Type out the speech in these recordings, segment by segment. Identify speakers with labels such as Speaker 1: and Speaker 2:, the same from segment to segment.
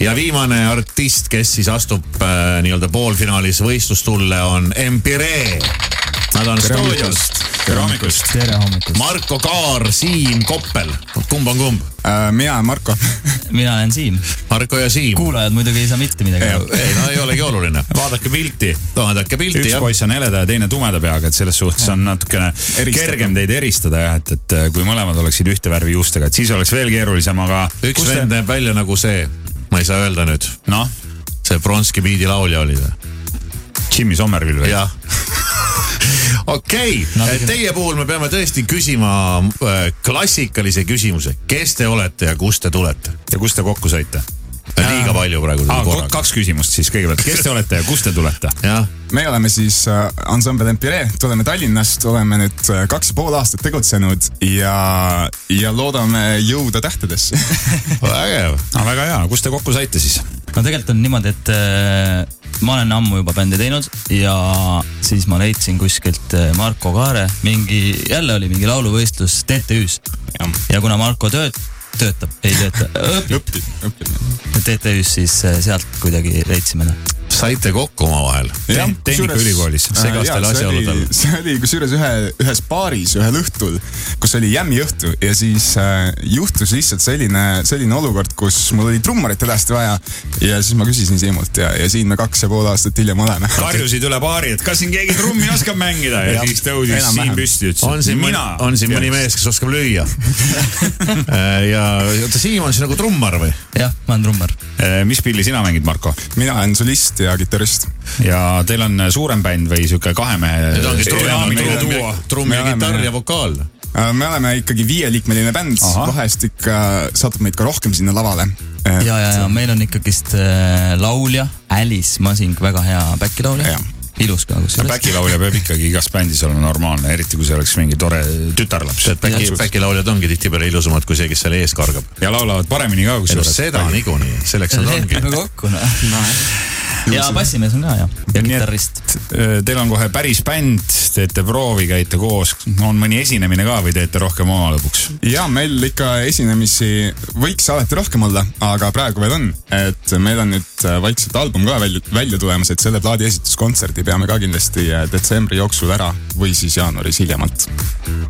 Speaker 1: ja viimane artist, kes siis astub äh, nii-öelda poolfinaalis võistlustulle on Empiree . Nad on
Speaker 2: Tere
Speaker 1: stuudios . tere hommikust .
Speaker 3: tere hommikust ,
Speaker 1: Marko Kaar , Siim Koppel , kumb on kumb ?
Speaker 2: mina olen Marko .
Speaker 3: mina olen Siim .
Speaker 1: Marko ja Siim .
Speaker 3: kuulajad muidugi ei saa mitte midagi aru .
Speaker 1: ei , no ei olegi oluline , vaadake pilti , vaadake pilti
Speaker 2: üks
Speaker 1: ja
Speaker 2: poiss on heleda ja teine tumeda peaga , et selles suhtes on natukene
Speaker 4: Eristada.
Speaker 2: kergem teid eristada jah , et , et kui mõlemad oleksid ühte värvi juustega , et siis oleks veel keerulisem , aga .
Speaker 1: üks vend näeb välja nagu see , ma ei saa öelda nüüd ,
Speaker 2: noh ,
Speaker 1: see Bronski biidi laulja oli või ?
Speaker 2: Jimmy Sommervil või ?
Speaker 1: jah . okei , teie puhul me peame tõesti küsima äh, klassikalise küsimuse , kes te olete ja kust te tulete ?
Speaker 2: ja kust te kokku saite ?
Speaker 1: liiga palju praegu tuli
Speaker 2: aa ,
Speaker 1: korraga .
Speaker 2: kaks küsimust siis kõigepealt , kes te olete ja kust te tulete ?
Speaker 1: jah ,
Speaker 4: me oleme siis äh, ansambel Empiree , tuleme Tallinnast , oleme nüüd äh, kaks ja pool aastat tegutsenud ja , ja loodame jõuda tähtedesse .
Speaker 1: vägev .
Speaker 2: aa , väga hea , kust te kokku saite siis ?
Speaker 3: no tegelikult on niimoodi , et äh, ma olen ammu juba bändi teinud ja siis ma leidsin kuskilt äh, Marko Kaare , mingi , jälle oli mingi lauluvõistlus TTÜ-s . ja kuna Marko tööt- , töötab , ei tööta , õpib
Speaker 4: õpid , õpid .
Speaker 3: TTÜ-s , siis äh, sealt kuidagi leidsime noh. ta .
Speaker 1: saite kokku omavahel ?
Speaker 2: Jah, Tehnikaülikoolis,
Speaker 1: segastel asjaoludel.
Speaker 4: äh, see oli kusjuures ühe , ühes baaris ühel õhtul , kus oli jämmi õhtu ja siis äh, juhtus lihtsalt selline , selline olukord , kus mul oli trummarit hädasti vaja ja siis ma küsisin Siimult ja , ja siin me kaks ja pool aastat hiljem oleme .
Speaker 2: karjusid üle baari , et kas siin keegi trummi oskab mängida ja, ja
Speaker 4: Jah.
Speaker 2: siis tõusis
Speaker 4: Enam-vähem.
Speaker 2: Siim püsti ja
Speaker 1: on
Speaker 2: ütles ,
Speaker 1: siin
Speaker 2: et
Speaker 1: mõni
Speaker 2: mina ,.
Speaker 1: on siin mõni mees , kes oskab lüüa . ja oota , Siim on siis nagu trummar või ?
Speaker 3: jah , ma olen trummar .
Speaker 2: Äh, mis pilli sina mängid , Marko ?
Speaker 4: mina olen solist ja kitarrist .
Speaker 2: ja teil on suurem bänd või sihuke kahe mehe ?
Speaker 1: Need ongi trumm , trumm , trumm
Speaker 4: Me
Speaker 1: ja
Speaker 4: oleme-
Speaker 1: kitarr ja vokaal .
Speaker 4: Äh, me oleme ikkagi viieliikmeline bänd ,
Speaker 2: Ahah.
Speaker 4: vahest ikka satub meid ka rohkem sinna lavale . Äh,
Speaker 3: ja , ja , ja meil on ikkagist äh, laulja , Alice Masing , väga hea back'i laulja
Speaker 4: Jah. .
Speaker 3: ilus ka kusjuures .
Speaker 2: Päkilaulja peab ikkagi igas bändis olema normaalne , eriti kui see oleks mingi tore tütarlaps
Speaker 1: tead , päki , päkilauljad ongi tihtipeale ilusamad kui see , kes seal ees kargab .
Speaker 2: ja laulavad paremini ka
Speaker 1: ei no
Speaker 2: kusjuures .
Speaker 1: seda niikuinii , selleks nad ongi .
Speaker 3: leppime kokku , noh . ja bassimees on ka ja , ja
Speaker 2: Nii et-
Speaker 3: kitarrist .
Speaker 2: Teil on kohe päris bänd , teete proovi , käite koos , on mõni esinemine ka või teete rohkem oma lõbuks ?
Speaker 4: ja meil ikka esinemisi võiks alati rohkem olla , aga praegu veel on , et meil on nüüd äh, vaikselt album ka välja , välja tulemas , et selle plaadi esituskontserdi peame ka kindlasti äh, detsembri jooksul ära või siis jaanuaris hiljemalt .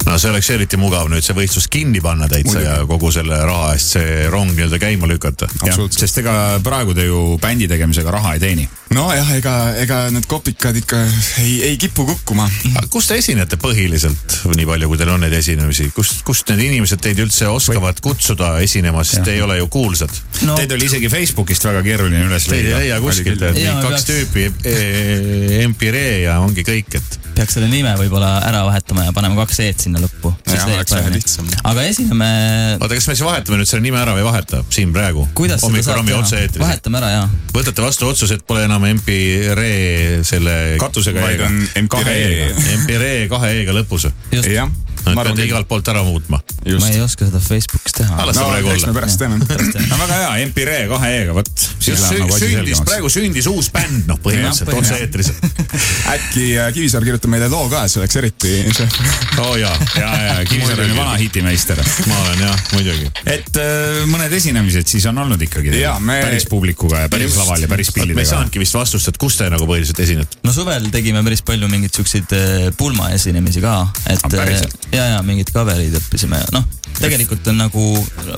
Speaker 1: no see oleks eriti mugav nüüd see võistlus kinni panna täitsa
Speaker 4: Muidugi.
Speaker 1: ja kogu selle raha eest see rong nii-öelda käima lükata .
Speaker 4: Absoluutselt.
Speaker 2: sest ega praegu te ju bändi tegemisega raha ei teeni .
Speaker 4: nojah , ega , ega need kopikad ikka ei , ei kipu kukkuma .
Speaker 1: kus te esinete põhiliselt , nii palju kui teil on neid esinemisi , kust , kust need inimesed teid üldse oskavad kutsuda esinema , sest te ei ole ju kuulsad .
Speaker 3: no
Speaker 2: Teid oli isegi Facebookist väga keeruline üles
Speaker 1: Teid ei
Speaker 2: leida .
Speaker 1: leia kuskilt ,
Speaker 4: küll,
Speaker 1: et mingi
Speaker 3: jah. Jaa,
Speaker 1: kaks tüüpi , Empiree ja ongi kõik , et
Speaker 3: peaks selle nime võib-olla ära vahetama ja panema kaks E-d sinna lõppu .
Speaker 4: Jah, oleks vähe lihtsam.
Speaker 3: aga esineme ,
Speaker 1: oota , kas me siis vahetame nüüd selle nime ära või ei vaheta siin praegu ?
Speaker 3: kuidas seda saab
Speaker 1: hommikurammi
Speaker 3: teha ?
Speaker 1: otse-eetris .
Speaker 3: vahetame ära ja .
Speaker 1: võtate vastu otsuse , et pole enam Empiree selle
Speaker 2: katusega
Speaker 4: vaid
Speaker 2: E-ga
Speaker 4: on .
Speaker 2: kahe
Speaker 4: MTV-ga.
Speaker 2: E-ga .
Speaker 1: Empiree kahe E-ga lõpus .
Speaker 3: just ,
Speaker 4: jah ,
Speaker 1: Nad
Speaker 4: ma arvan
Speaker 1: peavad
Speaker 4: küll .
Speaker 1: igalt poolt ära muutma .
Speaker 3: ma
Speaker 4: just .
Speaker 3: ei oska seda Facebookis teha .
Speaker 1: las ta
Speaker 4: no
Speaker 1: praegu
Speaker 4: eks
Speaker 1: olla.
Speaker 4: me pärast teeme .
Speaker 2: no väga hea , Empiree E kahe E-ga , vot . siis
Speaker 1: Sü-
Speaker 2: läheb nagu asi
Speaker 1: sündis ,
Speaker 2: selgemaks .
Speaker 1: praegu sündis uus bänd , noh , põhimõtteliselt
Speaker 3: Jah,
Speaker 1: otse-eetris .
Speaker 4: äkki äh, Kivisaar kirjutab meile loo ka , see oleks eriti
Speaker 2: Oh
Speaker 1: oo jaa ,
Speaker 2: ja , ja Kivisaar oli vana hitimeister .
Speaker 1: ma olen jah , muidugi .
Speaker 2: et äh, mõned esinemised siis on olnud ikkagi teil
Speaker 4: Jaa, me-
Speaker 2: päris publikuga ja päris laval ja päris
Speaker 1: me ei
Speaker 2: pillidega .
Speaker 1: saanudki vist vastust , et kus te nagu põhiliselt esinete .
Speaker 3: no suvel tegime päris palju mingeid siukseid eh, pulmaesinemisi ka , et
Speaker 2: Ah, päriselt?
Speaker 3: eh, ja , ja mingid cover'id õppisime ja noh , tegelikult on nagu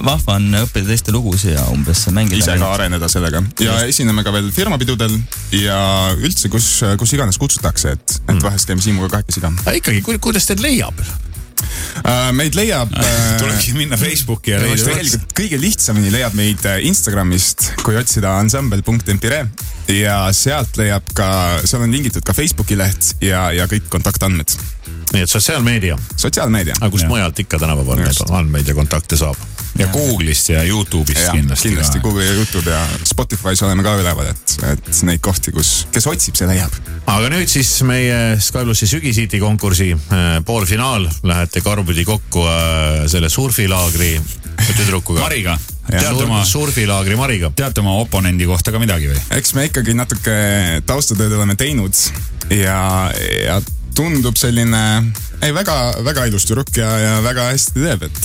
Speaker 3: vahva on õppida teiste lugusid ja umbes mängida .
Speaker 4: ise ka areneda sellega ja esineme ka veel firmapidudel ja üldse , kus , kus iganes kutsutakse , et ,
Speaker 2: Mm.
Speaker 4: et vahest käime Siimuga kahekesi ka .
Speaker 1: aga ikkagi , kuidas teid leiab ?
Speaker 4: meid leiab äh,
Speaker 2: tulebki minna Facebooki ja leida üles .
Speaker 4: tegelikult kõige lihtsamini leiab meid äh, Instagramist , kui otsida ansambel.empire E. ja sealt leiab ka , seal on lingitud ka Facebooki leht ja , ja kõik kontaktandmed ,
Speaker 1: nii et sotsiaalmeedia ,
Speaker 4: sotsiaalmeedia .
Speaker 1: aga kust
Speaker 2: Jah.
Speaker 1: mujalt ikka tänapäeval neid
Speaker 4: Just.
Speaker 1: andmeid ja kontakte saab ?
Speaker 2: ja Google'ist ja Youtube'ist kindlasti,
Speaker 4: kindlasti
Speaker 2: ka .
Speaker 4: Google ja Youtube ja Spotify's oleme ka üleval , et , et neid kohti , kus , kes otsib , see leiab .
Speaker 1: aga nüüd siis meie Skylusi sügisiiti konkursi äh, poolfinaal , lähete karupidi kokku äh, selle surfilaagri tüdrukuga .
Speaker 2: Mariga. Teate oma-
Speaker 1: Sur, surfilaagri Mariga .
Speaker 2: teate oma oponendi kohta ka midagi või ?
Speaker 4: eks me ikkagi natuke taustatööd oleme teinud ja , ja tundub selline , ei väga , väga ilus tüdruk ja , ja väga hästi teeb , et ,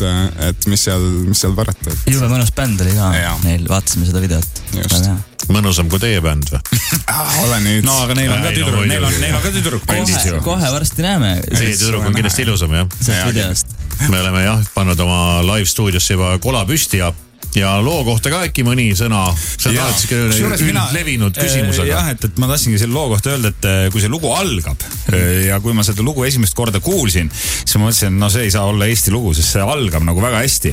Speaker 4: et mis seal , mis seal parata , et
Speaker 3: jube mõnus bänd oli ka
Speaker 4: Jaa.
Speaker 3: neil , vaatasime seda videot .
Speaker 4: Just.
Speaker 1: mõnusam kui teie bänd või ?
Speaker 4: ah, ole nüüd
Speaker 2: no
Speaker 4: no, .
Speaker 2: aga neil on ka
Speaker 1: Ei, no
Speaker 2: tüdruk , neil on ,
Speaker 1: muidugi.
Speaker 2: neil on ka tüdruk bändis
Speaker 3: kohe
Speaker 2: ju ,.
Speaker 3: kohe varsti näeme
Speaker 1: Teie tüdruk on kindlasti ilusam jah .
Speaker 3: sellest
Speaker 4: Jaa,
Speaker 3: videost .
Speaker 1: me oleme jah pannud oma live stuudiosse juba kola püsti ja , ja loo kohta ka äkki mõni sõna . see on
Speaker 2: Jaa.
Speaker 1: alati siuke
Speaker 2: Kusjuures mina- Äh,
Speaker 1: üldlevinud küsimus , aga
Speaker 2: jah , et , et ma tahtsingi selle loo kohta öelda , et eh, kui see lugu algab eh, ja kui ma seda lugu esimest korda kuulsin , siis ma mõtlesin , et no see ei saa olla Eesti lugu , sest see algab nagu väga hästi .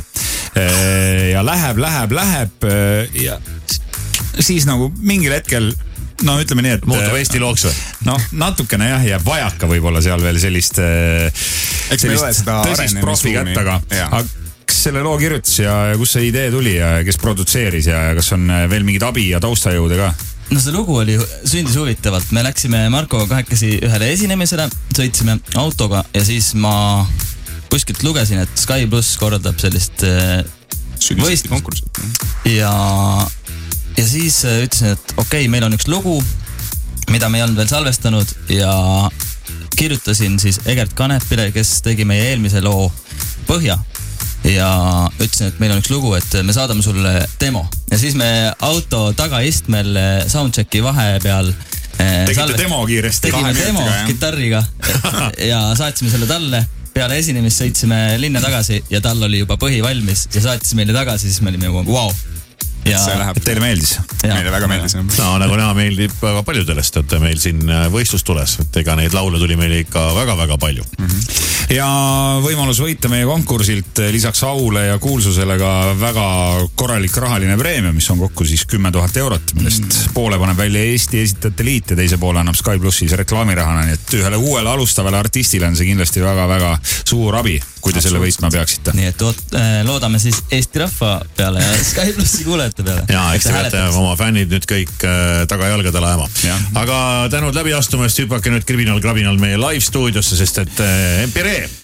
Speaker 2: ja läheb , läheb , läheb eh, ja siis nagu mingil hetkel no ütleme nii , et äh,
Speaker 1: muutub Eesti looks või ?
Speaker 2: noh , natukene jah , jääb vajaka võib-olla seal veel sellist . äh,
Speaker 4: Eks meil ole seda
Speaker 2: tõsist profi
Speaker 4: arenemisruumi.
Speaker 2: kätt , aga ,
Speaker 4: Jaa.
Speaker 2: aga kes selle loo kirjutas ja ja kust see idee tuli ja kes produtseeris ja kas on eh, veel mingeid abi ja taustajõude ka ?
Speaker 3: no see lugu oli , sündis huvitavalt , me läksime Markoga kahekesi ühele esinemisele , sõitsime autoga ja siis ma kuskilt lugesin , et Sky pluss korraldab sellist äh,
Speaker 4: sügisesti
Speaker 3: Võistlus.
Speaker 4: konkursid .
Speaker 3: ja , ja siis äh, ütlesin , et okei okay, , meil on üks lugu , mida me ei olnud veel salvestanud ja kirjutasin siis Egert Kanepile , kes tegi meie eelmise loo Põhja . ja ütlesin , et meil on üks lugu , et me saadame sulle demo ja siis me auto tagaistmel äh, soundchecki vahepeal äh,
Speaker 2: tegite
Speaker 3: salvest-
Speaker 2: demo kiiresti .
Speaker 3: tegime demo
Speaker 4: minutiga, jah.
Speaker 3: kitarriga ja saatsime selle talle . peale esinemist sõitsime linna tagasi ja tal oli juba põhi valmis ja saatis meile tagasi , siis me olime juba vau wow. .
Speaker 4: see
Speaker 3: ja ,
Speaker 4: läheb ,
Speaker 2: Teile meeldis ?
Speaker 3: Jaa.
Speaker 4: meile väga meeldis .
Speaker 1: no nagu näha , meeldib väga paljudele , sest et meil siin äh, võistlus tules , et ega neid laule tuli meil ikka väga-väga palju .
Speaker 2: ja võimalus võita meie konkursilt äh, lisaks aule ja kuulsusele ka väga korralik rahaline preemia , mis on kokku siis kümme tuhat eurot , millest mm. poole paneb välja Eesti Esitajate Liit ja teise poole annab Sky plussis reklaamirahana , nii et ühele uuele alustavale artistile on see kindlasti väga-väga suur abi , kui te selle võitma peaksite .
Speaker 3: nii et oot, äh, loodame siis Eesti rahva peale ja Sky plussi kuulajate peale .
Speaker 1: ja eks te peate oma fännid nüüd kõik äh, tagajalgadele ajama
Speaker 2: Jah. .
Speaker 1: aga tänud läbiastumast , hüpake nüüd Kriminal Krabinal meie live stuudiosse , sest et äh, Empiree